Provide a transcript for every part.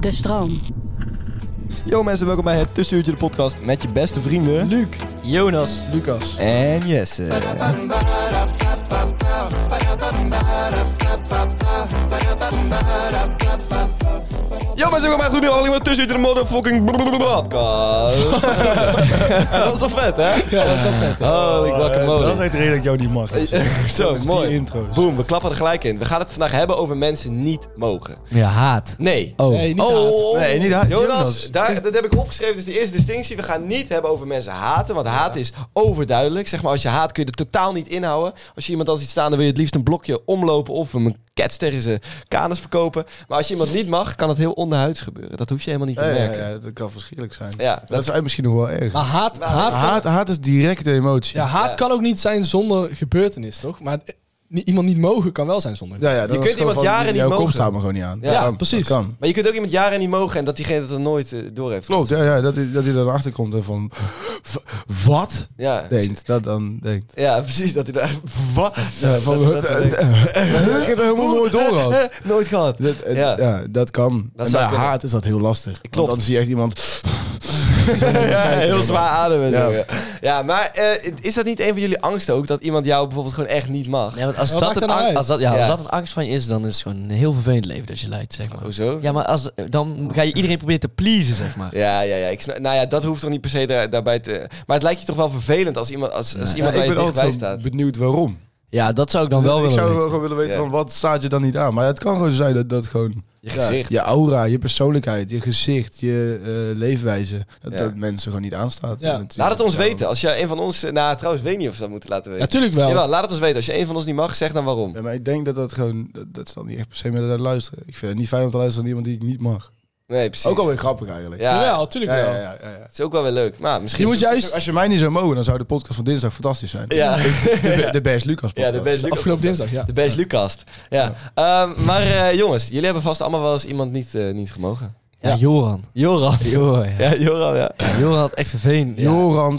De stroom. Yo mensen, welkom bij het Tussenuurtje de podcast met je beste vrienden... Luc, Jonas Lucas. en Jesse. Yo mensen, welkom bij Goed Nieuw Aflevering van het Tussenuurtje de motherfucking podcast. Ja, dat was wel vet hè? Ja, dat is wel vet. Oh, Holy guacamole. Dat is echt redelijk jou die mag. Zo, is dus die mooi. intro's. Boom, we klappen er gelijk in. We gaan het vandaag hebben over mensen niet mogen. Ja, haat. Nee. Oh. Nee, niet haat. Nee, niet haat. Jonas, Jonas. Daar, dat heb ik opgeschreven. Dus de eerste distinctie. We gaan niet hebben over mensen haten. Want haat is overduidelijk. Zeg maar, als je haat kun je er totaal niet inhouden. Als je iemand al ziet staan, dan wil je het liefst een blokje omlopen. Of hem een kets tegen zijn kanus verkopen. Maar als je iemand niet mag, kan het heel onderhuids gebeuren. Dat hoef je helemaal niet te Ja, ja, merken. ja, dat kan verschrikkelijk zijn. Ja, dat, dat- Nou, is eigenlijk misschien nog wel erg. Maar haat, haat, kan, Haat, haat is directe emotie. ja, haat kan ook niet zijn zonder gebeurtenis, toch? Maar eh, ni- iemand niet mogen kan wel zijn zonder. ja, kunt iemand jaren niet Jouw kop mogen. staat me gewoon niet aan. Ja, dat precies. kan. Maar je kunt ook iemand jaren niet mogen en dat diegene dat er nooit eh, door heeft. Klopt, ja, ja, dat, hij- dat hij dan achterkomt en van... "V- Wat? Ja, Denkt, dat dan denkt. ja precies. Dat hij daar. Wat? Ja, van, eh, Dat- dat- ik heb het helemaal nooit door gehad. nooit gehad. Dat, eh, Ja. ja. dat kan. en zou bij kunnen. haat is dat heel lastig. Klopt. Klopt. Want dan zie je echt iemand... ja, heel zwaar ademen. Ja. zo, Ja, ja maar eh, is dat niet een van jullie angsten ook? Dat iemand jou bijvoorbeeld gewoon echt niet mag? Nee, want als, Wat dat maakt een, dat nou ang- uit? als, dat, ja, Ja. als dat een angst van je is, dan is het gewoon een heel vervelend leven dat je leidt, zeg maar. Hoezo? Ja. Ja, maar als, dan ga je iedereen proberen te pleasen, zeg maar. Ja, ja, Ik snap, nou ja, dat hoeft toch niet per se daar, daarbij te... Maar het lijkt je toch wel vervelend als iemand, als, als iemand Ja, bij ik je ben dichtbij altijd staat. wel benieuwd waarom. Ja, dat zou ik dan wel ik willen zou wel weten. gewoon willen weten Ja. van wat staat je dan niet aan. Maar het kan gewoon zijn dat dat gewoon... Je gezicht. Je aura, je persoonlijkheid, je gezicht, je eh, leefwijze. Dat, Ja. dat mensen gewoon niet aanstaat. Ja. En het- Laat het ons ja, weten. Als je een van ons... eh, Nou, trouwens, weet niet of we dat moeten laten weten. Natuurlijk wel. Jawel, laat het ons weten. Als je een van ons niet mag, zeg dan waarom. Ja, maar ik denk dat dat gewoon... Dat, dat is dan niet echt per se meer naar luisteren. Ik vind het niet fijn om te luisteren naar iemand die ik niet mag. Nee, precies. Ook alweer grappig eigenlijk. Ja, Jawel, tuurlijk ja, ja, wel. ja, ja, ja. het is ook wel weer leuk. Maar misschien... Je moet is het- juist Als je mij niet zou mogen, dan zou de podcast van dinsdag fantastisch zijn. Ja. De, be- de Best Lucas Ja, podcast. de best Lucas. afgelopen dinsdag, ja. De best Lucas. Ja. Ehm, maar eh, jongens, jullie hebben vast allemaal wel eens iemand niet, eh, niet gemogen. Ja, Joran. Joran. Joran, ja. Ja, Joran, ja. Ja, Joran had echt vervelend. Ja. Joran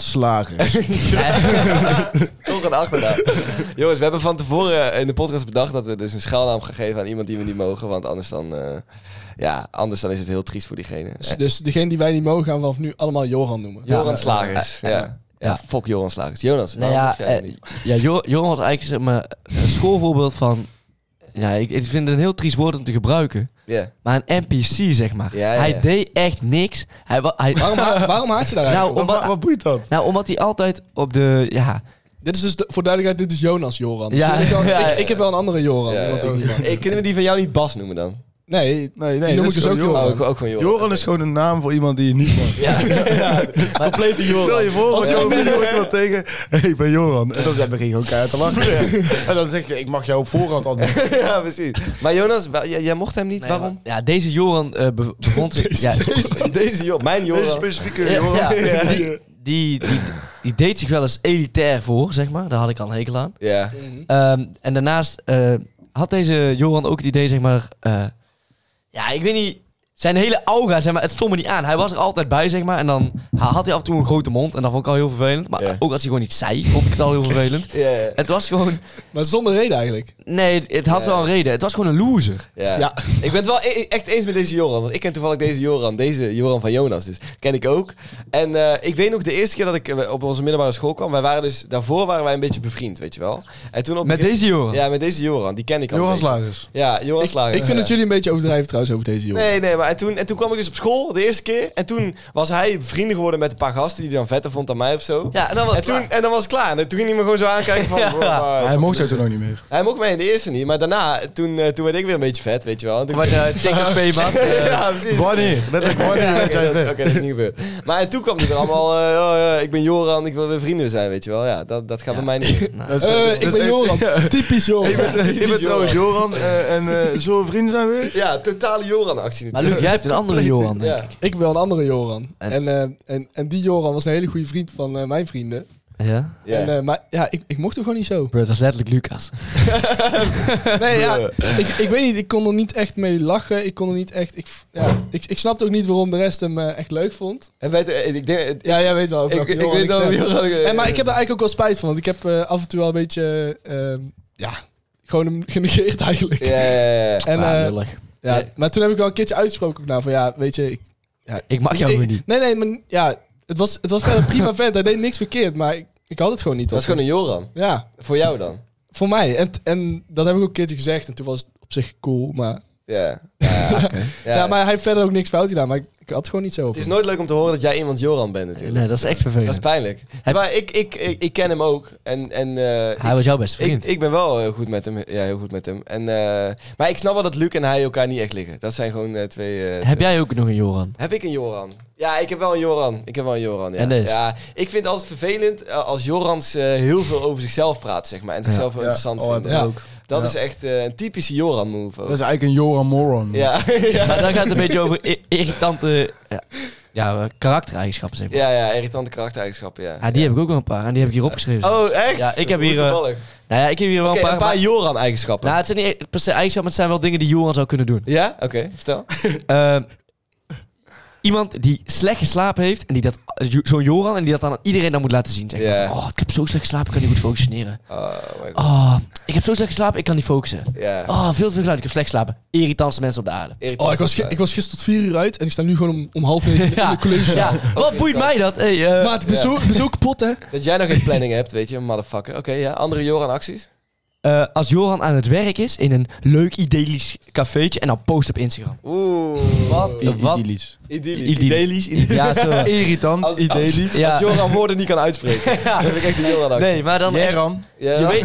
Slagers. Toch een achternaam. Jongens, we hebben van tevoren eh, in de podcast bedacht dat we dus een schuilnaam gaan geven aan iemand die we niet mogen. Want anders dan, eh, ja, anders dan is het heel triest voor diegene. Eh, Dus, dus degene die wij niet mogen, gaan we vanaf nu allemaal Joran noemen. Ja. Joran Slagers. eh, ja. eh, Ja. ja. fuck Joran Slagers. Jonas, Nou waarom ja, mocht jij hem eh, niet? ja Jo- Joran was eigenlijk zeg maar, een schoolvoorbeeld van... Ja, ik, ik vind het een heel triest woord om te gebruiken. Ja. Maar een NPC, zeg maar. Ja, ja, ja. Hij deed echt niks. Hij, wa- hij, Waarom, ha- waarom haat je daar eigenlijk Nou, op? om- wat, wat boeit dat? nou, omdat hij altijd op de... Ja, Dit is dus, de- voor duidelijkheid, dit is Jonas Joran. Dus Nou- Ja, ik, heb wel- ja, ja. ik, ik heb wel een andere Joran. Ja, iemand die ik niet ja. mag. Hey, kunnen we die van jou niet Bas noemen dan? Nee, Nee, nee, die dat noem is ik dus ook gewoon Joran. Ook, ook van Joran. Joran is gewoon een naam voor iemand die je niet mag. Ja, complete Joran. Stel je voor, Als als je je hem niet nooit wat tegen. Hé, hey, ik ben Joran. En dan begin je gewoon keihard te lachen. En dan zeg je, ik mag jou op voorhand al niet. Ja, precies. Maar Jonas, wa- jij, jij mocht hem niet. Nee, Waarom? maar- Ja, deze Joran eh, be- bevond zich... ja, Deze Joran, mijn Joran. Deze specifieke Ja, Joran. ja. Ja. Die, die, die, die deed zich wel eens elitair voor, zeg maar. Daar had ik al een hekel aan. Ja. Ehm, en daarnaast eh, had deze Johan ook het idee, zeg maar... eh, ja, ik weet niet... Zijn hele aura, zeg maar, het stond me niet aan. Hij was er altijd bij, zeg maar. En dan had hij af en toe een grote mond. En dat vond ik al heel vervelend. Maar Ja. ook als hij gewoon iets zei, vond ik het al heel vervelend. Ja, ja. Het was gewoon... Maar zonder reden eigenlijk. Nee, het, het had wel een reden. Het was gewoon een loser. Ja. Ja. Ik ben het wel e- echt eens met deze Joran. Want ik ken toevallig deze Joran. Deze Joran van Jonas dus. Ken ik ook. En eh, ik weet nog de eerste keer dat ik eh, op onze middelbare school kwam. Wij waren dus... Daarvoor waren wij een beetje bevriend, weet je wel. En toen op Met deze jongen. Ja, met deze Joran. Die ken ik al een Johan beetje. Slagers. Ja, Joran Slager. Ik vind ja. dat jullie een beetje overdrijven trouwens over deze jongen. Nee, nee, maar en toen, en toen kwam ik dus op school de eerste keer. En toen was hij vrienden geworden met een paar gasten die hij dan vetter vond dan mij of zo. Ja, en dan was en, het toen, klaar. en dan was het klaar. En toen ging hij me gewoon zo aankijken van... bro, maar- Hij mocht jou toen ook niet meer. Hij mocht mij in de eerste niet, maar daarna, toen, eh, toen werd ik weer een beetje vet, weet je wel. En toen- Maar eh tegen Veeman. ja, precies. Wanneer? Letterlijk wanneer Ja, werd Oké, jij dat- weg? oké, dat is niet gebeurd. Maar en toen kwam hij er allemaal, eh, oh, eh, ik ben Joran, ik wil weer vrienden zijn, weet je wel. Ja, dat, dat gaat bij mij niet. Dat is- Eh, dat ik is ben echt- Joran. Typisch Joran. Ik ben, ik ben trouwens Joran eh, en eh zullen we vrienden zijn weer? Ja, totale Joran-actie Maar natuurlijk. Luc, jij hebt een andere Johan, denk Ja. ik. Ik ben wel een andere Joran. En- En, eh, en, en die Joran was een hele goede vriend van eh, mijn vrienden. Ja? Ja. En, eh, maar ja, ik, ik mocht hem gewoon niet zo. Bro, dat is letterlijk Lucas. Nee, ja, ik, ik weet niet. Ik kon er niet echt mee lachen. Ik kon er niet echt... Ik, ja, ik, ik snapte ook niet waarom de rest hem eh, echt leuk vond. En weet, eh, ik denk... eh, Ik, Ja, jij weet wel. over ik, welke ik Joran weet dat het we heb. Joran... eh, En, maar ik heb er eigenlijk ook wel spijt van. Want ik heb eh, af en toe wel een beetje... eh, ehm, ja, gewoon hem genegeerd eigenlijk. Ja, ja, ja, ja. En, Ah, eh, lullig. ja, Nee. Maar toen heb ik wel een keertje uitgesproken ook nou van ja, weet je, ik, Ik mag jou Dus ik- gewoon niet. Nee, nee, maar ja, het was, het was verder een prima vent. Hij deed niks verkeerd, maar ik, ik had het gewoon niet. Dat is op gewoon een Joran. hem. Ja, Voor jou dan. voor mij. En, en dat heb ik ook een keertje gezegd en toen was het op zich cool, maar... Ja. Ja, Ja, maar hij heeft verder ook niks fout gedaan, maar ik, ik had het gewoon niet zo op Het is hem. nooit leuk om te horen dat jij iemand Joran bent natuurlijk. Nee, dat is echt vervelend. Dat is pijnlijk. Maar ik, ik, ik, ik ken hem ook. En, en, eh, Hij was jouw beste ik, vriend. ik ben wel heel goed met hem. Ja, heel goed met hem. En, eh, maar ik snap wel dat Luc en hij elkaar niet echt liggen. Dat zijn gewoon eh, twee... eh, twee- Heb jij ook nog een Joran? Heb ik een Joran? Ja, ik heb wel een Joran. Ik heb wel een Joran, ja. En dus? ja ik vind het altijd vervelend eh, als Jorans eh, heel veel over zichzelf praat, zeg maar. En zichzelf heel interessant Oh, vinden. heb ik Ja. ook. Dat Ja. is echt eh, een typische Joran-move. ook. Dat is eigenlijk een Joran Moron. Ja, ja. Maar dan gaat het een beetje over i- irritante ja, ja, eh, karaktereigenschappen, zeg maar. ja, ja, irritante karaktereigenschappen, ja. Ja, die heb ik ook wel een paar en die heb ik hier opgeschreven. Oh, echt? Ja, ik heb Hoe hier, eh, toevallig. Nou ja, ik heb hier wel Oké, een paar. een paar maar- Joran-eigenschappen. nou, het zijn niet per se eigenschappen, het zijn wel dingen die Johan zou kunnen doen. Ja? Oké, vertel. Ehm, iemand die slecht geslapen heeft en die dat, zo'n Joran, en die dat dan aan iedereen dan moet laten zien. Zeg maar Ja. van, oh, ik heb zo slecht geslapen, ik kan niet goed functioneren. Oh, my god. Oh, ik heb zo slecht geslapen, ik kan niet focussen. Ja. Oh, veel te veel geluid, ik heb slecht geslapen. Irritantste mensen op de aarde. Irritant. Oh, ik was, ge- ik was gisteren tot vier uur uit en ik sta nu gewoon om, om half negen in Ja, de college. ja. wat boeit mij dat? Hey, eh, Maat, ik ben, zo, ik ben zo kapot, hè. Dat jij nog geen planning hebt, weet je, motherfucker. Oké, ja. Andere Joran-acties? eh, als Joran aan het werk is in een leuk idyllisch cafeetje en dan post op Instagram. Oeh. Wat? Eh, wat- Idyllisch. Idyllisch. Idyllisch. Ja, zo. Irritant, Als- als- idyllisch. Ja. Als Joran woorden niet kan uitspreken. Dan heb ik echt een Joran-actie. Nee, maar dan echt- Jeran. Ja. Je weet,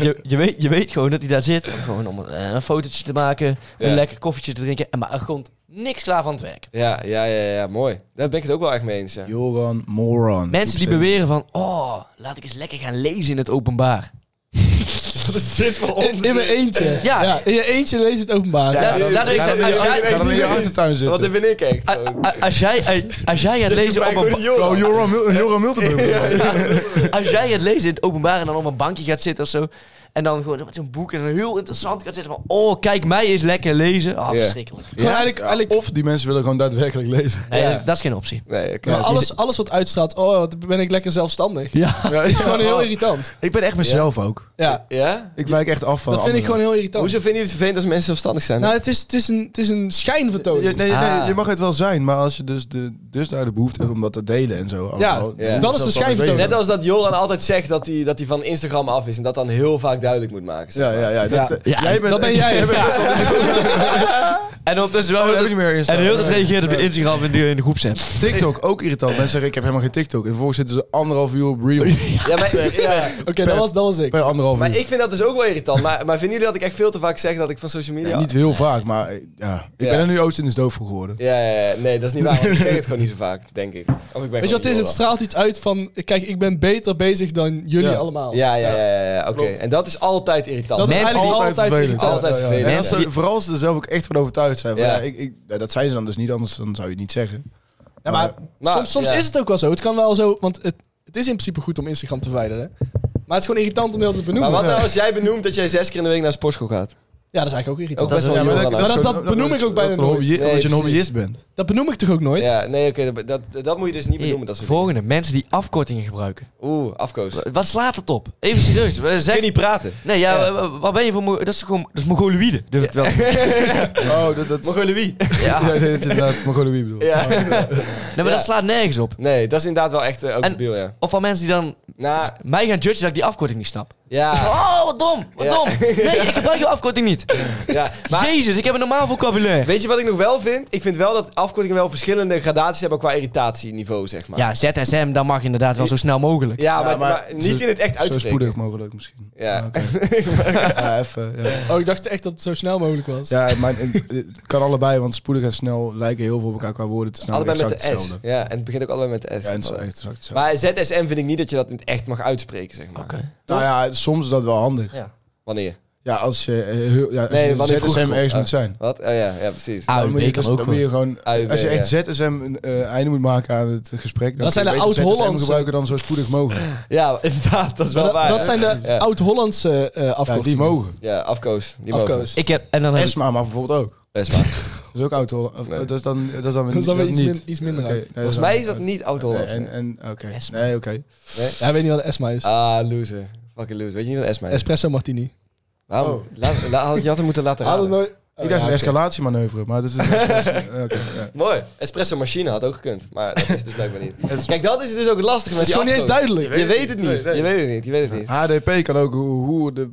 je, je, weet, je weet gewoon dat hij daar zit. Gewoon om eh, een fotootje te maken, Ja. een lekker koffietje te drinken. En maar er komt niks klaar van het werk. Ja, ja, ja, ja, mooi. Daar ben ik het ook wel echt mee eens. Ja. Joran Moron. Mensen die Opzet. beweren van, oh, laat ik eens lekker gaan lezen in het openbaar. Wat is dit voor In, in mijn eentje. Ja. in je eentje lees het openbaar. Ja, dit- daardoor dit- is het- dit- als dit- jij- Ah, dit- Ga dan in je achtertuin Wat zitten. ben ik echt? A- a- Als jij, als jij het lezen op een, Oh, Joran, Mil- Joran Miltenburg. ba- als jij het lezen in het openbaar en dan op een bankje gaat zitten of zo. En dan gewoon met zo'n boek en dan heel interessant gaat zitten van, oh, kijk mij eens lekker lezen. Ah, Ja. verschrikkelijk. Gewoon eigenlijk, eigenlijk Of die mensen willen gewoon daadwerkelijk lezen. Nee, Ja. dat, dat is geen optie. Nee, oké. maar alles, alles wat uitstraalt, oh, wat ben ik lekker zelfstandig. Ja. Ja, Dat is gewoon heel irritant. Ik ben echt mezelf ook. Ja, Ja? Ik wijk echt af van dat vind ik anderen. gewoon heel irritant. Hoezo vinden jullie het vervelend als mensen zelfstandig zijn? Nou, het is, het is, een, het is een schijnvertoning. Je, nee, nee, Ah. je mag het wel zijn, maar als je dus de dus daar de behoefte hebt om dat te delen en zo. allemaal, ja. dan Dan is de dat schijnvertoning. wel Net een als dat Joran altijd zegt dat hij dat hij van Instagram af is en dat dan heel vaak duidelijk moet maken. zeg Ja, maar. ja, ja. Dat, Ja. Ja, jij bent dat ben jij. En ondertussen wel... Oh, dat heb ik niet meer en instaan. heel dat reageerde op Instagram in de, in de groepsapp. TikTok, ook irritant. Mensen zeggen, ik heb helemaal geen TikTok. En vervolgens zitten ze anderhalf uur op Reel. Ja, maar, ja. Oké, dat, was, dat was ik. Per anderhalf maar uur. ik vind dat dus ook wel irritant. Maar, maar vinden jullie dat ik echt veel te vaak zeg dat ik van social media... Ja, Niet heel vaak, maar eh, ja. Ik Ja. ben er nu Oost in is doof voor geworden. Ja, ja, ja. nee, dat is niet waar. want Ik zeg het gewoon niet zo vaak, denk ik. Of ik ben Weet je wat het is? Het straalt iets uit van... Kijk, ik ben beter bezig dan jullie Ja. allemaal. Ja, ja, ja, ja, ja. oké. Klopt. En dat is altijd irritant. Dat is Mensen eigenlijk altijd altijd, vervelend. irritant. Altijd vervelend. En als Ja. ze, vooral als ze er zelf ook echt van overtuigd zijn. Van, Ja. ja. ik, ik, ja, dat zijn ze dan dus niet, anders dan zou je het niet zeggen. Ja, maar Maar, soms soms ja. is het ook wel zo. Het kan wel zo... Want het, het is in principe goed om Instagram te verwijderen. Maar het is gewoon irritant om heel te maar nou benoemen. wat nou als jij benoemt dat jij zes keer in de week naar sportschool gaat? Ja, dat is eigenlijk ook irritant. Ook best wel Ja, maar jong. dat, maar dat, dat benoem ik ook bijna dat, nooit. Nee, dat je een precies. hobbyist bent. Dat benoem ik toch ook nooit? Ja, nee, oké, dat- dat, dat moet je dus niet Hier, benoemen. Dat soort volgende, mensen die afkortingen gebruiken. dingen. Oeh, afkoos. Wa- Wat slaat het op? Even serieus. eh, Kun je Zeg, niet praten. nee, ja, wa- wa- waar ben je voor? Mo- Dat is toch gewoon, dat is mongoloïde, durf ik het wel. te zeggen. Oh, dat... dat Mongolie. ja, dat je inderdaad Mongolie bedoelt. Ja. Nee, maar dat slaat nergens op. Nee, dat is inderdaad wel echt eh, ook En- debiel, ja. Of van mensen die dan Nou, mij gaan judgen dat ik die afkorting niet snap. ja, Oh, wat dom, wat Ja. dom. Nee, ik gebruik je afkorting niet. ja. Maar Jezus, ik heb een normaal vocabulaire. weet je wat ik nog wel vind? Ik vind wel dat afkortingen wel verschillende gradaties hebben qua irritatieniveau, zeg maar. Ja, ZSM, dat mag inderdaad wel zo snel mogelijk. Ja, maar, maar niet zo- in het echt Zo uitspreken. spoedig mogelijk misschien. Ja. oké. ja, even. Ja, Oh, ik dacht echt dat het zo snel mogelijk was. ja maar het, het kan allebei, want spoedig en snel lijken heel veel op elkaar qua woorden. Het is namelijk allebei met de S. exact hetzelfde. Ja, en het begint ook allebei met de S. Ja, het is echt exact hetzelfde. maar ZSM vind ik niet dat je dat in het echt mag uitspreken, zeg maar. nou ja, soms is dat wel handig. Ja, Wanneer? als je eh, heel, ja, als Nee, je wanneer vroeg ZSM het ergens op. moet zijn. Wat? Oh ja, ja precies. Ah, Dan moet je, AUB kan dus- ook dan moet je gewoon, AUB, als je echt ja. ZSM een eh, einde moet maken aan het gesprek, dan Dat zijn kun je de beter oud-Hollandse. ZSM gebruiken dan zo spoedig mogelijk. Ja, inderdaad, dat is Maar wel dat, waar. dat hè? zijn de Ja. oud-Hollandse eh Ja, die afkortingen. mogen. Ja, afkoos. Die mogen. Afkoos. Ik heb, en dan heb ik- Esma mag bijvoorbeeld ook. Best waar. Dat is ook oud-Holland. Of, Nee. Dat is dan dat is dan weer Dat is dan dat weer is iets, niet. min- iets minder Oké, uit. nee, Volgens dan- mij is dat niet oud-Holland. Nee, en, en oké. Esma. Nee, Oh, oké. Ja, ik weet niet wat een Esma is. Ah, loser. Fucking loser. Weet je niet wat Esma is? Espresso martini. Waarom? Laat, la- had, je had hem moeten laten Hadden raden. we nooit... Ik dacht een ja, oké. escalatiemanoeuvre, maar dat is een oké, ja. Mooi. Espresso machine had ook gekund. Maar dat is dus blijkbaar niet. Kijk, dat is dus ook lastig met Het is gewoon niet eens duidelijk. Je weet het niet. Je weet het niet. Je weet het niet. HDP kan ook hoe, hoe de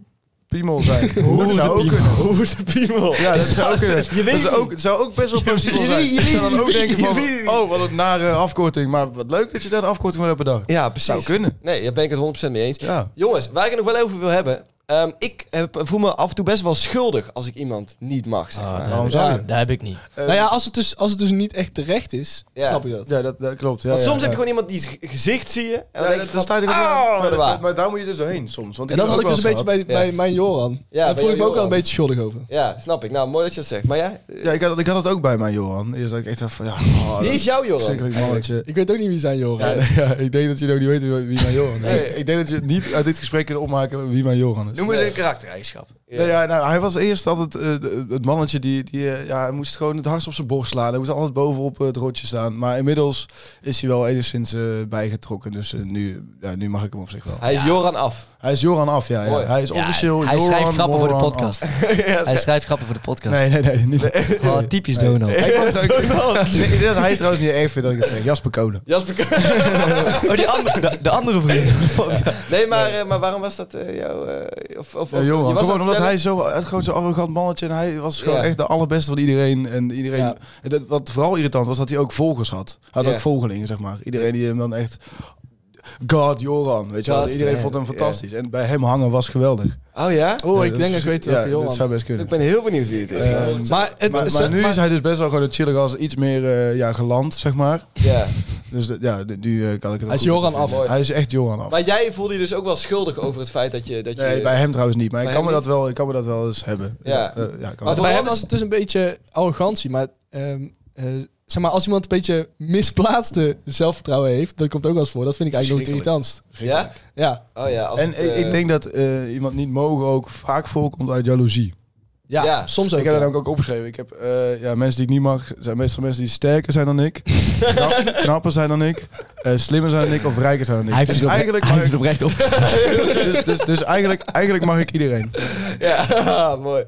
piemel zijn. hoe dat zou ook piemel. kunnen. Hoe de piemel. Ja, dat zou ook kunnen. Je weet dat zou niet. ook, het zou ook best wel plausibel je zijn. weet- je Ik zou weet dan ook niet. denken Je van, weet niet. oh, wat een nare afkorting. Maar wat leuk dat je daar een afkorting voor hebt bedacht. Ja, precies. Zou kunnen. Nee, daar ben ik het 100% mee eens. Ja. Jongens, waar ik het nog wel over wil hebben. ehm, ik heb, voel me af en toe best wel schuldig als ik iemand niet mag, zeg maar. Waarom Ja. zou je? dat heb ik niet. Nou ja, als het dus, als het dus niet echt terecht is, Ehm, Ja. snap je dat. Ja, dat, dat klopt. Ja, Want ja, soms ja. heb je gewoon iemand die zijn gezicht zie je. En dan Ja, denk dat- je dat van, staat er ook "Ah, aan. Maar wat dat- waar." Maar daar moet je dus doorheen soms. Want En dat had ik dus een beetje bij, Ja. bij mijn Joran. bij Daar voel jouw ik me ook wel Joran. een beetje schuldig over. Ja, snap ik. Nou, mooi dat je dat zegt. Maar ja, Ja, ik had, ik had dat ook bij mij, Johan. Eerst dat ik echt dacht van, ja... Oh, wie is jou, dat- Joran? Verschrikkelijk mannetje. Ik weet ook niet wie zijn Joran Ja, is. ja, ik denk dat jullie ook niet weten wie- wie mijn Johan is. Ik denk dat je niet uit dit gesprek kunt opmaken wie mijn Johan is. Noem eens een karaktereigenschap. Ja. ja, nou, hij was eerst altijd eh, de- het mannetje die, die eh, ja, hij moest gewoon het hardst op zijn borst slaan. Hij moest altijd bovenop eh, het rotje staan. Maar inmiddels is hij wel enigszins eh, bijgetrokken. Dus eh, nu, ja, nu mag ik hem op zich wel. Hij is Joran af. Hij is Joran af, ja. ja. Mooi. Hij is officieel hij Joran schrijft grappen voor de Moran podcast. af. Hij schrijft grappen voor de podcast. Nee, nee, nee. Niet. Oh, typisch Donald. Ik was ook- Nee, ik denk dat hij het trouwens niet erg vindt dat ik het zeg. Jasper Kolen. Jasper Oh, die andere, de, de andere vriend. Nee, maar, eh, maar waarom was dat eh, jou? eh, of, of, Ja, Johan. je was aan Gewoon het omdat vertellen- hij zo, eh, het gewoon zo'n arrogant mannetje en hij was gewoon Ja. echt de allerbeste van iedereen. En iedereen, Ja. en dat, wat vooral irritant was, dat hij ook volgers had. Hij had Ja. ook volgelingen, zeg maar. Iedereen die hem dan echt... God, Joran. Weet je wel, God, iedereen man. vond hem Ja. fantastisch. En bij hem hangen was geweldig. Oh ja? Oh, ik Ja, denk dat dat- ik weet ja, welke Dat Joran. zou best kunnen. Ik ben heel benieuwd wie het is. Eh, Maar, het, maar, ze- maar nu maar- is hij dus best wel gewoon een chillig als iets meer eh, ja, geland, zeg maar. ja. Dus dat- ja, d- nu eh, kan ik het Hij is ook goed Joran vinden. af. Hij is echt Joran af. Maar jij voelde je dus ook wel schuldig over het feit dat je... Dat je Nee, bij hem trouwens niet. Maar ik Dus, eh, Bij kan, me hem dat wel, ik kan me dat wel eens hebben. Ja. eh, ja, ik kan Maar me- bij Vooral hem dat- was het dus een beetje arrogantie, maar... ehm, eh, Zeg maar, als iemand een beetje misplaatste zelfvertrouwen heeft, dat komt ook wel eens voor. Dat vind ik eigenlijk nog het irritantst. Ja? Ja, Oh ja. Als En het, ik, eh, ik denk dat eh, iemand niet mogen ook vaak voorkomt uit jaloezie. ja, Ja. soms ook. ik heb ja. dat ook opgeschreven. Ik heb eh, ja, mensen die ik niet mag, zijn meestal mensen die sterker zijn dan ik. knap- knapper zijn dan ik. eh, slimmer zijn dan ik of rijker zijn dan ik. Hij dus, heeft het, opre- eigenlijk hij mag heeft het ik, oprecht op. dus, dus, dus eigenlijk, eigenlijk mag ik iedereen. Ja, mooi.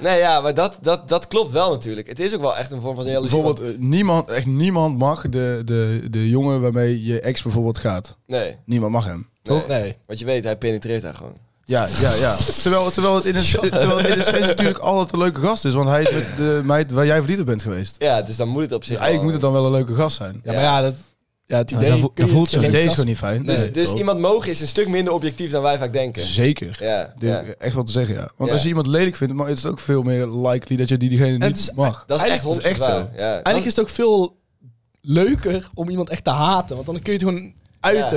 Nee, ja, maar dat, dat, dat klopt wel natuurlijk. Het is ook wel echt een vorm van jaloezie. Bijvoorbeeld, eh, niemand, echt niemand mag de, de, de jongen waarmee je ex bijvoorbeeld gaat. want- Nee. Niemand mag hem. Nee. Nee. Want je weet, hij penetreert daar gewoon. Ja, ja, ja. Terwijl, terwijl het in het terwijl het in essentie natuurlijk altijd een leuke gast is. Want hij is met de meid waar jij verliefd op bent geweest. Ja, dus dan moet het op zich Dus eigenlijk moet wel- het dan wel een leuke gast zijn. Ja, maar ja, dat, ja het idee... zo vo- kun je- dat voelt zo. Het kun je- idee is gewoon niet fijn. Dus, Nee. dus iemand mogen is een stuk minder objectief dan wij vaak denken. Zeker. Ja, Dit- ja. Echt wat te zeggen, ja. Want Ja. als je iemand lelijk vindt, maar het is ook veel meer likely dat je die diegene niet het is- mag. Dat is echt dat is 100% echt zo. waar. Ja, dat- Eigenlijk is het ook veel leuker om iemand echt te haten. Want dan kun je het gewoon uiten,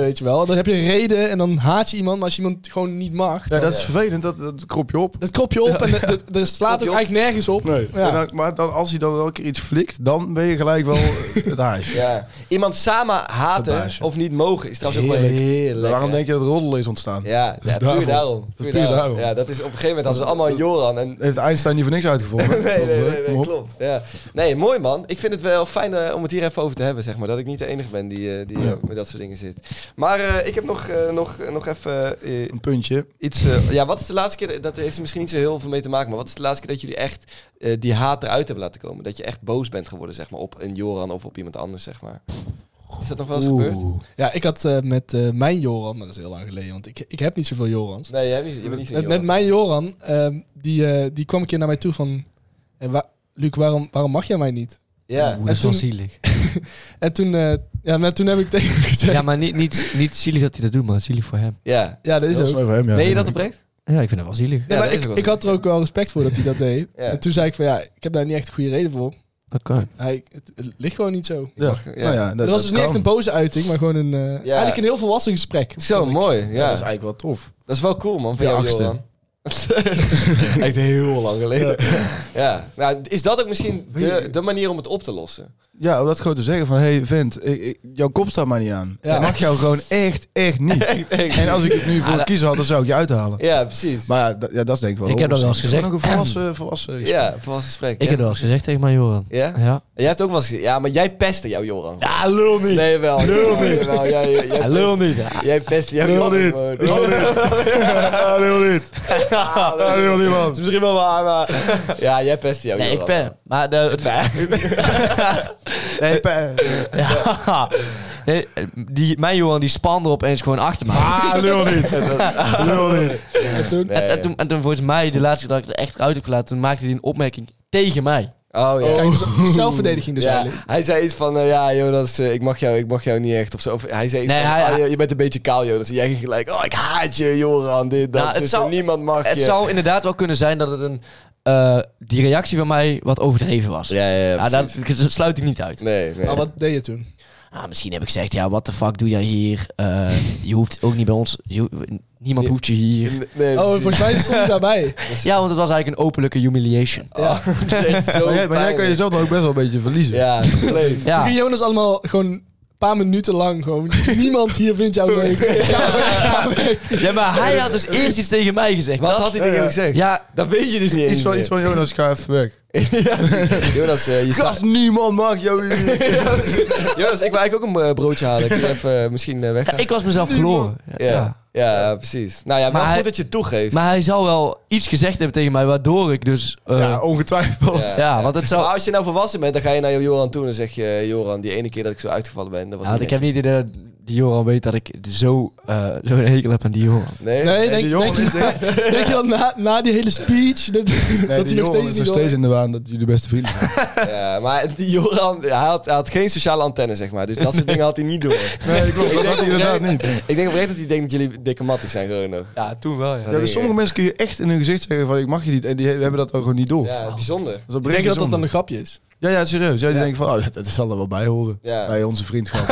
Ja. weet je wel. Dan heb je een reden en dan haat je iemand, maar als je iemand gewoon niet mag, Ja, dat is vervelend. Dat, dat krop je op. dat krop je op en de- de- er slaat je ook op. eigenlijk nergens op. Nee. Ja. En dan- maar dan, als hij dan wel een keer iets flikt, dan ben je gelijk wel het haasje. Ja. Iemand samen haten Verbaasje. of niet mogen is trouwens ook wel leuk. Waarom hè? denk je dat roddel is ontstaan? Ja, ja, daarom. puur daarom. is Puur puur daarom. daarom. Ja, dat is op een gegeven moment hadden ze allemaal een Joran en Heeft Einstein niet voor niks uitgevonden? Nee, nee, nee, Kom nee op. klopt. Ja. Nee, mooi man. Ik vind het wel fijn eh, om het hier even over te hebben, zeg maar. Dat ik niet de enige ben die, eh, die eh, met dat soort dingen zit. Maar eh, ik heb nog, eh, nog, nog even eh, Een puntje. iets... eh, ja, wat is de laatste keer... Dat heeft er misschien niet zo heel veel mee te maken, maar wat is de laatste keer dat jullie echt eh, die haat eruit hebben laten komen? Dat je echt boos bent geworden, zeg maar, op een Joran of op iemand anders, zeg maar. Is dat nog wel eens gebeurd? Ja, ik had eh, met eh, mijn Joran, maar dat is heel lang geleden, want ik, ik heb niet zoveel Jorans. Nee, jij bent niet, je bent niet zo'n Met, met Joran. mijn Joran, ehm, die, eh, die kwam een keer naar mij toe van... eh, wa- Luc, waarom, waarom mag jij mij niet? Ja. dat is wel toen- zielig. En toen, eh, ja, maar toen heb ik tegen hem gezegd... Ja, Ja, maar niet, niet, niet zielig dat hij dat doet, maar zielig voor hem. ja. dat is Dat is ook. wel voor hem, ja. Meen je dat oprecht? Ja, ik vind dat wel zielig. Nee, Ja, maar dat is ik, ook wel ik had er ook wel respect voor dat hij dat deed. Ja. En toen zei ik van ja, ik heb daar niet echt een goede reden voor. Dat kan. Hij, het, het ligt gewoon niet zo. Ja. Mag- ja. Nou ja, dat, Dat, was dat dus niet echt kan. een boze uiting, maar gewoon een... eh, Eigenlijk een heel volwassen gesprek. Zo mooi, ja. Ja, dat is eigenlijk wel tof. Dat is wel cool, man, van De jou, achtste. Johan. Echt heel lang geleden. Ja. Nou, is dat ook misschien de, de manier om het op te lossen? Ja, om dat gewoon te zeggen van, hey vent, ik, ik- jouw kop staat mij niet aan. Ja. Ik mag jou gewoon echt, echt niet. En als ik het nu voor kiezen had, dan zou ik je uithalen. Ja, precies. Maar ja, dat, ja, dat is denk ik wel. Ik heb dat wel eens Het is gewoon gezegd. Nog een volwassen, volwassen gesprek. Ja, voor ons gesprek. Ik heb dat al gezegd tegen mijn Joran. Ja? Ja. Jij hebt ook wel eens gezegd, ja, maar jij pestte jouw Joran. Ja, lul niet. Nee, wel. Lul niet. Wel, jij, jij, jij, lul niet. pest- jij pestte jouw Joran. niet. gewoon. Ja, heel niet. Ja, Ja, heel niet, man. Dat is misschien wel waar, maar... Ja, jij pestte jouw Nee, ik Joran. ben. Maar de, Nee, pa- ja. Nee, die, mijn Johan die spande opeens gewoon achter me. Ah, lul niet. Lul niet. En toen, Nee. en, en toen, en toen volgens mij, de laatste keer dat ik er echt uit heb gelaten, toen maakte hij een opmerking tegen mij. Oh, ja. kijk, dus zelfverdediging dus Ja, eigenlijk. hij zei iets van, eh, ja Jonas, eh, ik, mag jou, ik mag jou niet echt. Of zo. Of hij zei iets Nee, van, hij- ah, je, je bent een beetje kaal Jonas. En jij ging gelijk, oh ik haat je Joran, dit, dat, Nou, het zus, zou- en dus niemand mag Het je. zou inderdaad wel kunnen zijn dat het een, eh, die reactie van mij wat overdreven was. Ja, ja, ja, Ja, precies. dat, dat sluit ik niet uit. Nee, nee. Maar wat deed je toen? Ah, misschien heb ik gezegd, ja, wat de fuck doe jij hier? Eh, je hoeft ook niet bij ons. je ho- niemand hoeft je hier. Nee, Oh, precies. volgens mij stond hij daarbij. Ja, want het was eigenlijk een openlijke humiliation. Oh, het is echt zo Maar jij, maar jij kan pijnlijk. jezelf dan ook best wel een beetje verliezen. Ja, compleet. Toen Ja. ging Jonas allemaal gewoon een paar minuten lang gewoon... Niemand hier vindt jou leuk. Ga weg, ga weg. ja, maar hij had dus eerst iets tegen mij gezegd. Wat Dat- had hij tegen jou gezegd? Ja, Dat weet je dus niet Iets, eens van, meer. iets van Jonas, ga even weg. Jonas, eh, je staat... Gast, niemand mag jou hier. Jonas, ik wil eigenlijk ook een eh, broodje halen. Kun je even eh, misschien eh, ja, weggaan? ik was mezelf verloren. Ja. Ja. Ja. precies. Nou ja, maar Maar goed hij- dat je het toegeeft. Maar hij zou wel iets gezegd hebben tegen mij, waardoor ik dus... eh, Ja, ongetwijfeld. ja, want het zou... oh, Maar als je nou volwassen bent, dan ga je naar Joran toe en dan zeg je... Joran, die ene keer dat ik zo uitgevallen ben, dat was Ja, Nou, want ik heb niet netjes. in de... Die Joran weet dat ik zo, eh zo'n hekel heb aan die Joran. Nee? Nee, En denk, die jongen denk, is je, echt... denk je dat na, na die hele speech... Dat, Nee, dat die hij jongen nog steeds is niet nog door- steeds in de waan dat jullie beste vrienden zijn. Ja, maar die Joran, hij had, hij had geen sociale antenne, zeg maar. Dus dat soort dingen had hij niet door. Nee, klopt. Dat denk had hij inderdaad niet. Ik denk oprecht dat hij denkt dat jullie dikke matties zijn gewoon nog. Ja, toen wel, ja. Ja, dus sommige mensen kun je echt in hun gezicht zeggen van ik mag je niet. En die he- hebben dat dan gewoon niet door. Ja, bijzonder. Dus dat Ik denk dat dat dan een grapje is. Ja, ja, serieus. Ja, die denken van, oh, dat, dat zal er wel bij horen. Ja. Bij onze vriendschap.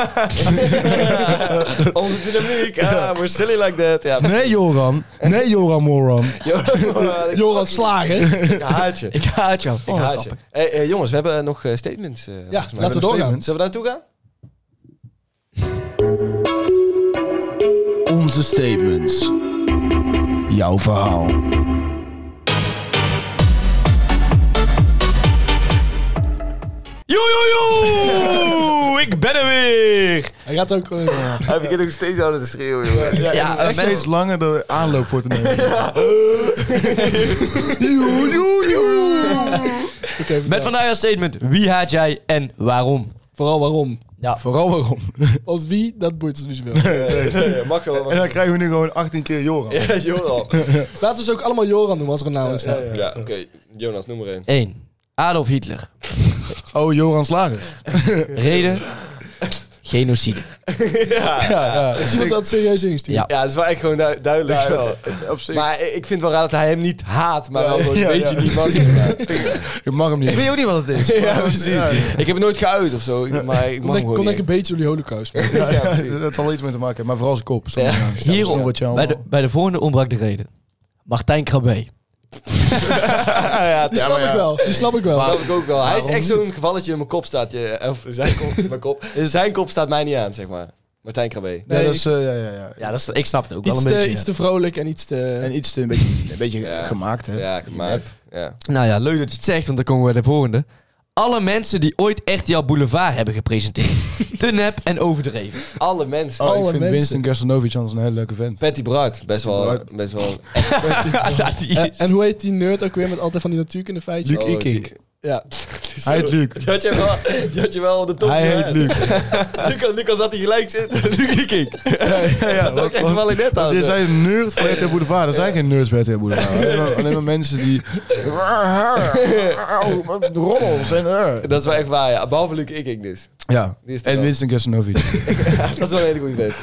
Onze dynamiek, ah, we're silly like that. Ja, nee, Joran. Nee, Joran Moran. Joran, Joran Slager. ik haat je. Ik haat jou. Ik haat je. Hey, eh, jongens, we hebben eh, nog eh, statements. eh, Ja, volgens mij. laten we doorgaan. statement. Zullen we daar naartoe gaan? Onze statements. Jouw verhaal. Yo, yo, yo! ik ben er weer! Hij gaat ook... eh, Hij begint ook steeds harder te schreeuwen, jongen. Ja, eh, Echt steeds mensen, langer de aanloop voor te nemen. Oké, vertel. met vandaag als statement. Wie haat jij en waarom? Vooral waarom. Vooral waarom. Want wie, dat boeit ons niet zoveel. mag wel. En dan krijgen we nu gewoon 18 keer Joran. Ja, Joran. Laten we ze ook allemaal Joran noemen als er een naam in Ja, staat. oké. Jonas, noem maar één. 1. Adolf Hitler. Oh, Joran Slager. Reden? Genocide. Ja, ja. Heeft iemand dat serieus ingestuurd? Ja. Ja, dat is wel echt gewoon du- duidelijk. wel. Op zich. Maar ik vind wel raar dat hij hem niet haat, maar wel gewoon een Ja, beetje ja. niet mag. Je mag hem niet. Ik weet ook niet wat het is. Ja, precies. Ik heb het nooit geuit of zo, maar ik Kon mag ik, gewoon kon ik niet. een beetje jullie holocaust. maken? Ja, ja, dat zal iets mee te maken hebben, maar vooral zijn kop. Ja. Hierom, bij, de, bij de volgende ontbrak de reden. Martijn Krabbe. ja, Die snap ik wel. Die snap ik wel. Dat heb ik ook wel. Hij is echt zo'n gevalletje in mijn kop staat. Je, of zijn kop, mijn kop. Dus Zijn kop staat mij niet aan, zeg maar. Martijn Krabbe. Ja, Nee, dat is, eh, ja, ja, ja. Ja, dat is, ik snap het ook Iets, wel een te, beetje. iets ja. te vrolijk en iets te... En iets te, een beetje, een beetje gemaakt, hè? Ja, gemaakt. Ja. Nou ja, leuk dat je het zegt, want dan komen we bij de volgende. Alle mensen die ooit RTL Boulevard hebben gepresenteerd. te nep en overdreven. Alle mensen. Oh, ik Alle vind mensen. Winston Gastanovic anders een hele leuke vent. Patty Bart, best wel, Bart. best wel. Ja, die Eh, is- en hoe heet die nerd ook weer met altijd van die natuurkunde feitjes? Oh, Luc Ikink. Ja. Hij heet Luc. Die had je wel, die had je wel de top. Hij heet Luc. Lucas, Lucas had hij gelijk zitten. Luc Ikink. Dat dacht ik echt wel ik net aan. Dit zijn een nerd van RTL Boulevard. Er zijn geen nerds bij RTL Boulevard. Alleen maar, alleen maar mensen die... Roddels en... eh. Dat is wel echt waar, ja. Behalve Luc Ikink dus. Ja, Die is er en wel. Winston Gastanovic. Dat is wel een hele goede vent.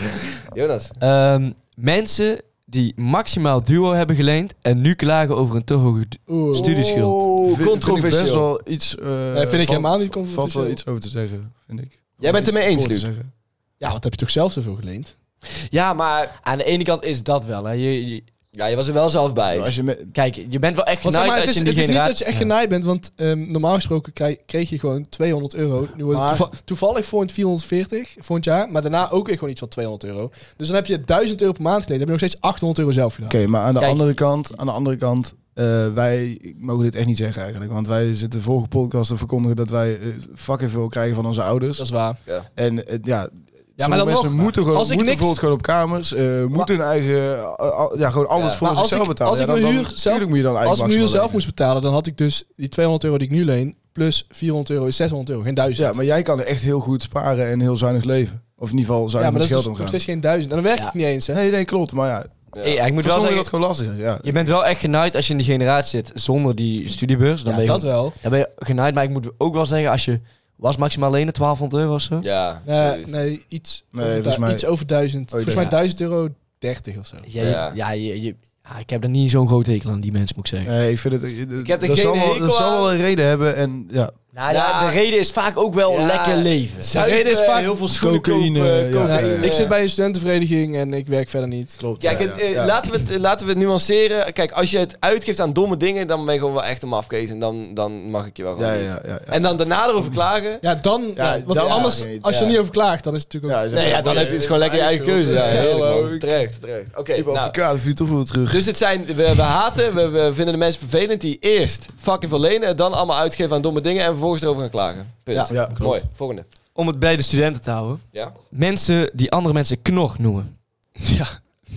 Jonas. Ehm, mensen die maximaal duo hebben geleend. en nu klagen over een te hoge du- Oeh. studieschuld. Oh, Vind- Vind ik best controversieel. wel iets... eh, vind ik valt- helemaal niet Valt controversieel. wel iets over te zeggen, vind ik. Jij bent het mee Iets eens, voor te Luc? zeggen. Ja, wat heb je toch zelf zoveel geleend? Ja, maar Aan de ene kant is dat wel. Hè. Je, je- ja, je was er wel zelf bij. Nou, Als je met, kijk, je bent wel echt Want genaaid zeg maar, het als is, je in het die is niet dat generatie... je echt genaaid bent, want ehm, normaal gesproken kreeg, kreeg je gewoon 200 euro. Nu wordt het Maar- toeva- toevallig voor een 440 volgend jaar, maar daarna ook weer gewoon iets van 200 euro. Dus dan heb je 1000 euro per maand geleend. Dan heb je nog steeds 800 euro zelf gedaan. Oké, maar aan de Kijk. andere kant, aan de andere kant, eh, wij mogen dit echt niet zeggen eigenlijk, want wij zitten vorige podcast te verkondigen dat wij eh, fucking veel krijgen van onze ouders. Dat is waar. En eh, ja, ja maar dan mensen nog, moeten gewoon, als ik moeten niks- bijvoorbeeld gewoon op kamers, eh, moeten hun eigen, eh, al- ja, gewoon alles Ja. voor Maar als zichzelf ik- betalen. als Ja, ik dan- mijn dan- huur zelf- tuurlijk moet je dan Als eigen ik nu maximaal zelf lenen. moest betalen, dan had ik dus die 200 euro die ik nu leen, plus 400 euro is 600 euro, geen 1000. Ja, maar jij kan echt heel goed sparen en heel zuinig leven. Of in ieder geval Ja, zuinig maar met dat geld is nog omgaan. steeds geen 1000. En dan werk Ja. ik niet eens, hè? Nee, nee, klopt, maar ja. Hey, ja, Eh, ik moet Voor wel sommigen is zeggen, dat gewoon lastig, ja. je bent wel echt genaaid als je in die generatie zit zonder die studiebeurs. Dan Ja, ben je dat wel. Dan ben je genaaid, maar ik moet ook wel zeggen, als je was maximaal lenen, 1200 euro of zo. Ja, Eh, zoiets. nee, iets, Nee, over, volgens du- mij- Oh, iets over 1000. volgens mij ja. 1000 euro 30 of zo. Ja, Ja. je- ja, je- je- ja, ik heb er niet zo'n groot hekel aan die mensen, moet ik zeggen. Nee, ik vind het... eh, Ik heb er geen dat zal wel, hekel dat zal aan. wel een reden hebben en ja. Nou ja, Ja. de reden is vaak ook wel Ja. lekker leven. Zuipen, reden is vaak- eh, heel veel schoenen Cocaïne, kopen, ja. Ja, cocaïne. Ik zit bij een studentenvereniging en ik werk verder niet. Klopt. Kijk, het, eh, Laten, we het, eh, laten we het nuanceren. Kijk, als je het uitgeeft aan domme dingen, dan ben je gewoon wel echt een mafkees. En dan, dan mag ik je wel gewoon Ja, ja, niet. ja, ja. En dan daarna erover klagen. Ja, dan. Ja, ja, want dan- anders, ja, nee, als je ja. er niet over klaagt, dan is het natuurlijk ook. Nee, ja, dan heb je dus gewoon lekker je eigen keuze. Ja, heerlijk, man. Terecht, terecht. Oké, Ik heb nou, advocaat, vuur toch wel terug. Dus het zijn, we, we haten, we, we vinden de mensen vervelend die eerst fucking veel lenen, het dan allemaal uitgeven aan domme dingen en vervolgens erover gaan klagen. Punt. Ja. Ja, klopt. Mooi, volgende. Om het bij de studenten te houden. Ja? Mensen die andere mensen knor noemen. Ja.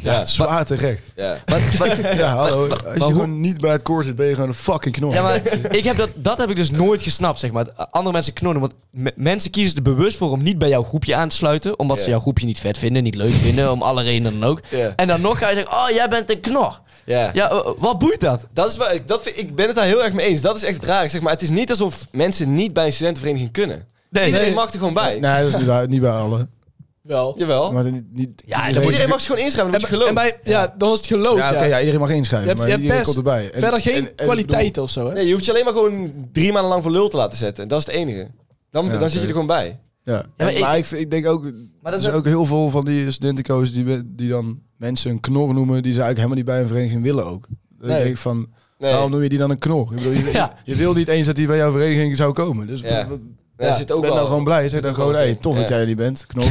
Ja. Zwaar terecht. ja. Wat, wat- Ja, hallo. Als je hoe- gewoon niet bij het koor zit, ben je gewoon een fucking knor. ja, maar ik heb dat, dat heb ik dus nooit gesnapt, zeg maar. Andere mensen knor noemen. Want me- mensen kiezen er bewust voor om niet bij jouw groepje aan te sluiten. Omdat Ja. ze jouw groepje niet vet vinden, niet leuk vinden, om alle redenen dan ook. Ja. En dan nog ga je zeggen, oh, jij bent een knor. ja. Ja, eh, wat boeit dat? Dat is wel, ik- dat vind, ik ben het daar heel erg mee eens. Dat is echt raar. Ik Zeg maar, het is niet alsof mensen niet bij een studentenvereniging kunnen. Nee. Iedereen Nee. mag er gewoon bij. Nee, dat is niet bij, niet bij alle. wel. Jawel. Maar niet, niet, Ja, en dan iedereen- moet Iedereen mag zich gewoon inschrijven, dan En, moet je bij- en geloof. bij, ja, dan was het geloot. ja, Ja, oké, ja, iedereen mag je inschrijven, hebt, maar je hebt iedereen best komt erbij. En- verder en- geen en ik bedoel- kwaliteiten of zo. Hè? Nee, je hoeft je alleen maar gewoon drie maanden lang voor lul te laten zetten. Dat is het enige. Dan, Ja, dan zit je oké. er gewoon bij. Ja. maar En- ik- maar ik, vind- ik denk ook, dat er is zijn ook heel veel van die studentenco's die, we- die dan mensen een knor noemen, die ze eigenlijk helemaal niet bij een vereniging willen ook. Dan Nee. denk ik van, Nee. waarom noem je die dan een knor? Ik bedoel, je, Ja. je wil niet eens dat die bij jouw vereniging zou komen. Dus Ja. wat- Daar zit ook ben wel- dan gewoon blij. Zeg dan gewoon, wel hey, wat tof in. dat Ja. jij er niet bent, knor.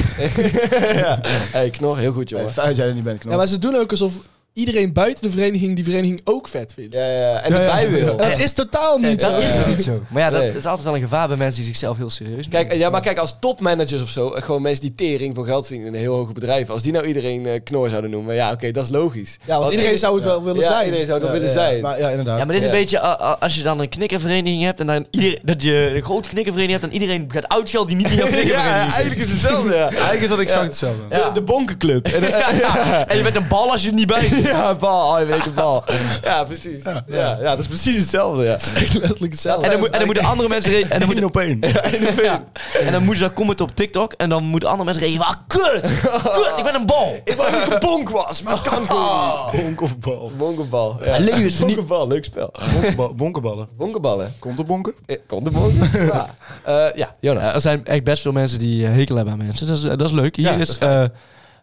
hey, knor, heel goed Hey, jongen. Fijn dat jij er niet bent, knor. Ja, maar ze doen ook alsof iedereen buiten de vereniging die vereniging ook vet vindt. Ja, ja, ja. En Ja, ja. erbij wil. En dat is totaal niet zo. Dat is niet zo. Maar ja, dat Nee. dat is altijd wel een gevaar bij mensen die zichzelf heel serieus nemen. Kijk, ja, maar kijk, als topmanagers of zo, eh, gewoon mensen die tering voor geld vinden in een heel hoge bedrijf, als die nou iedereen eh, knor zouden noemen, ja, oké, dat is logisch. Ja, want iedereen zou het wel willen ja, zijn. iedereen zou dat Ja, willen ja, zijn. Maar ja, inderdaad. Ja, maar dit is een Ja. beetje a- a- als je dan een knikkervereniging hebt en dan ieder, dat je een grote knikkervereniging hebt en iedereen gaat uitschelden die niet in jouw ja, knikkervereniging zit. eigenlijk is het hetzelfde. Ja. Eigenlijk is dat exact hetzelfde. De, de bonkenclub. En je bent een bal als je er niet bij zit. Ja, bal. Oh, je weet een bal. Ja, precies. Ja, ja, dat is precies hetzelfde. Ja. Echt letterlijk hetzelfde. En dan, moet- en dan moeten andere mensen... re- En dan moeten Eén op één. Ja. En dan moeten ze dat commenten op TikTok. En dan moeten andere mensen reageren. Ah, kut! Kut, ik ben een bal! Ik wou dat ik een bonk was, maar het kan gewoon niet. Bonk of bal. Bonkenbal. Ja. En Leo is niet- Bonkenbal, leuk spel. Bonkenba- Bonkenballen. Bonkenballen. Komt er bonken? Eh, Komt de bonk? Ja, Eh, ja Jonas. Ja, er zijn echt best veel mensen die eh, hekel hebben aan mensen. Dat is, dat is leuk. Hier Ja, dat is is eh,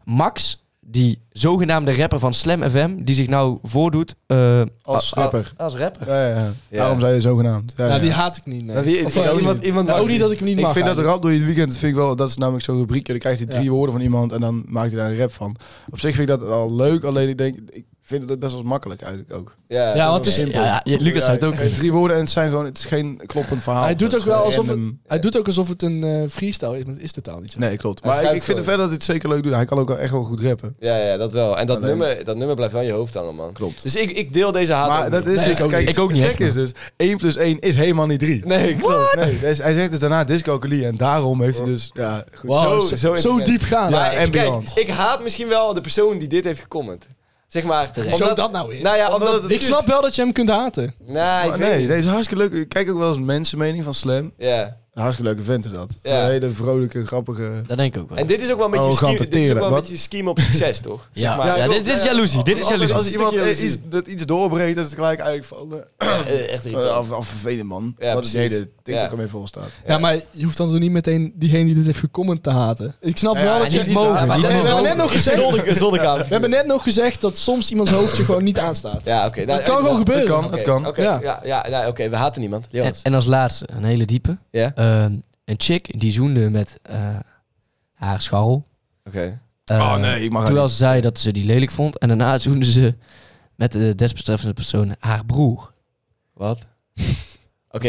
Max, die zogenaamde rapper van Slam FM, die zich nou voordoet eh, Als a- a- rapper. Als rapper. Ja, ja, ja. Daarom zei je zogenaamd. Ja, Ja, Nou, die ja. haat ik niet. Nee. Maar wie- Of, die- eh, iemand- iemand nou, mag ook niet niet. dat ik hem niet Ik mag. vind dat eigenlijk. rap door je weekend, vind ik wel, dat is namelijk zo'n rubriekje. Dan krijgt hij drie Ja. woorden van iemand en dan maakt hij daar een rap van. Op zich vind ik dat al leuk, alleen ik denk, ik vind het best wel makkelijk eigenlijk ook. Ja, Ja, dat want is het is- Ja, ja, je- Lucas Ja, zei het ook. eh, Drie woorden en het zijn gewoon, het is geen kloppend verhaal. Hij doet Het ook is wel gewoon alsof het, random. hij doet ook alsof het een eh, freestyle is, maar het is totaal niet zo. Nee, klopt. Hij Maar ik, ik schrijft vind het gewoon. verder dat hij het zeker leuk doet. Hij kan ook wel echt wel goed rappen. Ja, ja, dat wel. En dat, Alleen- nummer, dat nummer blijft wel in je hoofd hangen, man. Klopt. Dus ik, ik deel deze haat Maar ook dat niet. is dus- Nee, ik ook kijk, niet. Ik ook niet het echt, gekke is dus, 1 plus 1 is helemaal niet 3. Nee, klopt. Nee. Nee, dus hij zegt dus daarna dyscalculie en daarom heeft hij dus, ja, goed. Wow, Zo- zo zo, zo, intelligent. diep gaan. Ja, Maar en kijk, beyond. ik haat misschien wel de persoon die dit heeft gecomment. Zeg maar... Zo dat nou weer. Nou ja, omdat, het... ik snap wel dat je hem kunt haten. Nee, ik Maar weet nee, niet. deze is hartstikke leuk. Ik kijk ook wel eens mensenmening van Slam. Ja. Een hartstikke leuke vent is dat. Ja. Een hele vrolijke, grappige... Dat denk ik ook wel. En dit is ook wel een beetje, Oh, scheme- dit is ook ganteren. wel een Wat? beetje scheme op succes, toch? ja, Zeg maar. ja, ik dit, wil- dit is ja, jaloezie. Dit is Als- jaloezie. Als iemand jaloezie. eh, iets, dat iets doorbreekt, dat is het gelijk eigenlijk van... eh, eh, Echt irritant. Af, af vervelend man. Ja, Wat is de precies. hele TikTok Ja. ermee vol staat. Ja, maar je hoeft dan zo niet meteen diegene die dit heeft gecomment te haten. Ik snap wel dat je... niet mogen, Ja, maar niet dat- we mogen. hebben net nog gezegd- Zolder- zolderkamer. we hebben net nog gezegd dat soms iemands hoofdje gewoon niet aanstaat. Ja, oké. nou, dat kan inderdaad. gewoon gebeuren. Dat kan, Oké, dat kan. Oké, Ja. ja, ja, nou, oké, we haten niemand. En, Jonas. en als laatste, een hele diepe. Ja? Eh, een chick die zoende met eh, haar scharrel. Oké. Eh, oh nee, ik mag haar Terwijl niet. ze zei dat ze die lelijk vond. En daarna zoende ze met de desbetreffende persoon haar broer. Wat? Oké, wacht. Oké, Oké,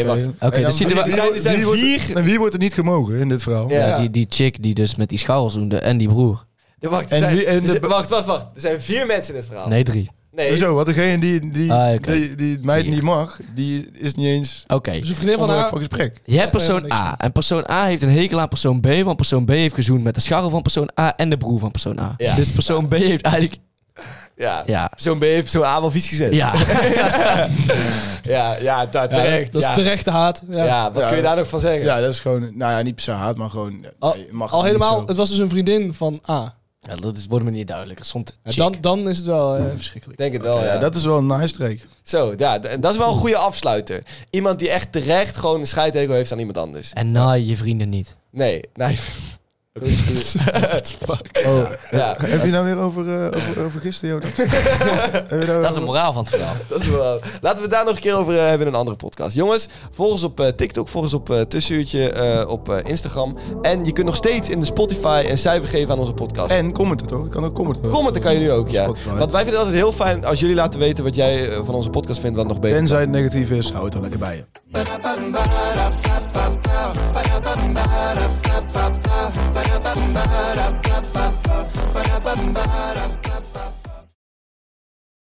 en dan- dus zien we- er zijn- er zijn wie wordt- vier- En wie wordt er niet gemogen in dit verhaal? Ja. Ja, die, die chick die dus met die scharrel zoende en die broer. Ja, Wacht, er En zijn- wie- en er de- zijn- wacht, wacht, wacht. Er zijn vier mensen in dit verhaal. Nee, drie. Nee, Hoezo? Want degene die, die, Ah, oké. die, die het meid Vier. niet mag, die is niet eens Oké. Dus een vriendin van onderwerp haar... van gesprek. Je helemaal hebt persoon niks A. En persoon A heeft een hekel aan persoon B. Want persoon B heeft gezoend met de scharrel van persoon A en de broer van persoon A. Ja. Dus persoon B heeft eigenlijk... Ja. Ja. Zo'n B heeft zo'n A wel vies gezet. Ja. ja, ja daar Ja, terecht. dat is ja. terechte haat. Ja. Ja, wat Ja. kun je daar nog van zeggen? Ja, dat is gewoon, nou ja, niet per se haat, maar gewoon... eh, Al, je mag al niet helemaal... zo. Het was dus een vriendin van A. ja dat is, wordt me niet duidelijker. Soms Ja, dan, dan is het wel Mm. eh, verschrikkelijk. Ik Denk het wel, ja. Oh, Ja, dat is wel een nice streek. Zo, ja, d- dat is wel een goede afsluiter. Iemand die echt terecht gewoon een scheidhekel heeft aan iemand anders. En naai je vrienden niet. Nee, nee. Oh, Ja, Heb je nou weer over, eh, over, over gisteren, Jonas? Heb je nou weer Dat is de over- moraal van het verhaal. dat is wel. Laten we het daar nog een keer over eh, hebben in een andere podcast. Jongens, volg ons op eh, TikTok, volg ons op eh Tussenuurtje, eh, op eh, Instagram. En je kunt nog steeds in de Spotify een cijfer geven aan onze podcast. En commenten toch? Ik kan ook commenten. Commenten kan je nu ook, ja. Spotify. Want wij vinden het altijd heel fijn als jullie laten weten wat jij eh, van onze podcast vindt, wat nog beter Tenzij het negatief is, hou het dan lekker bij je.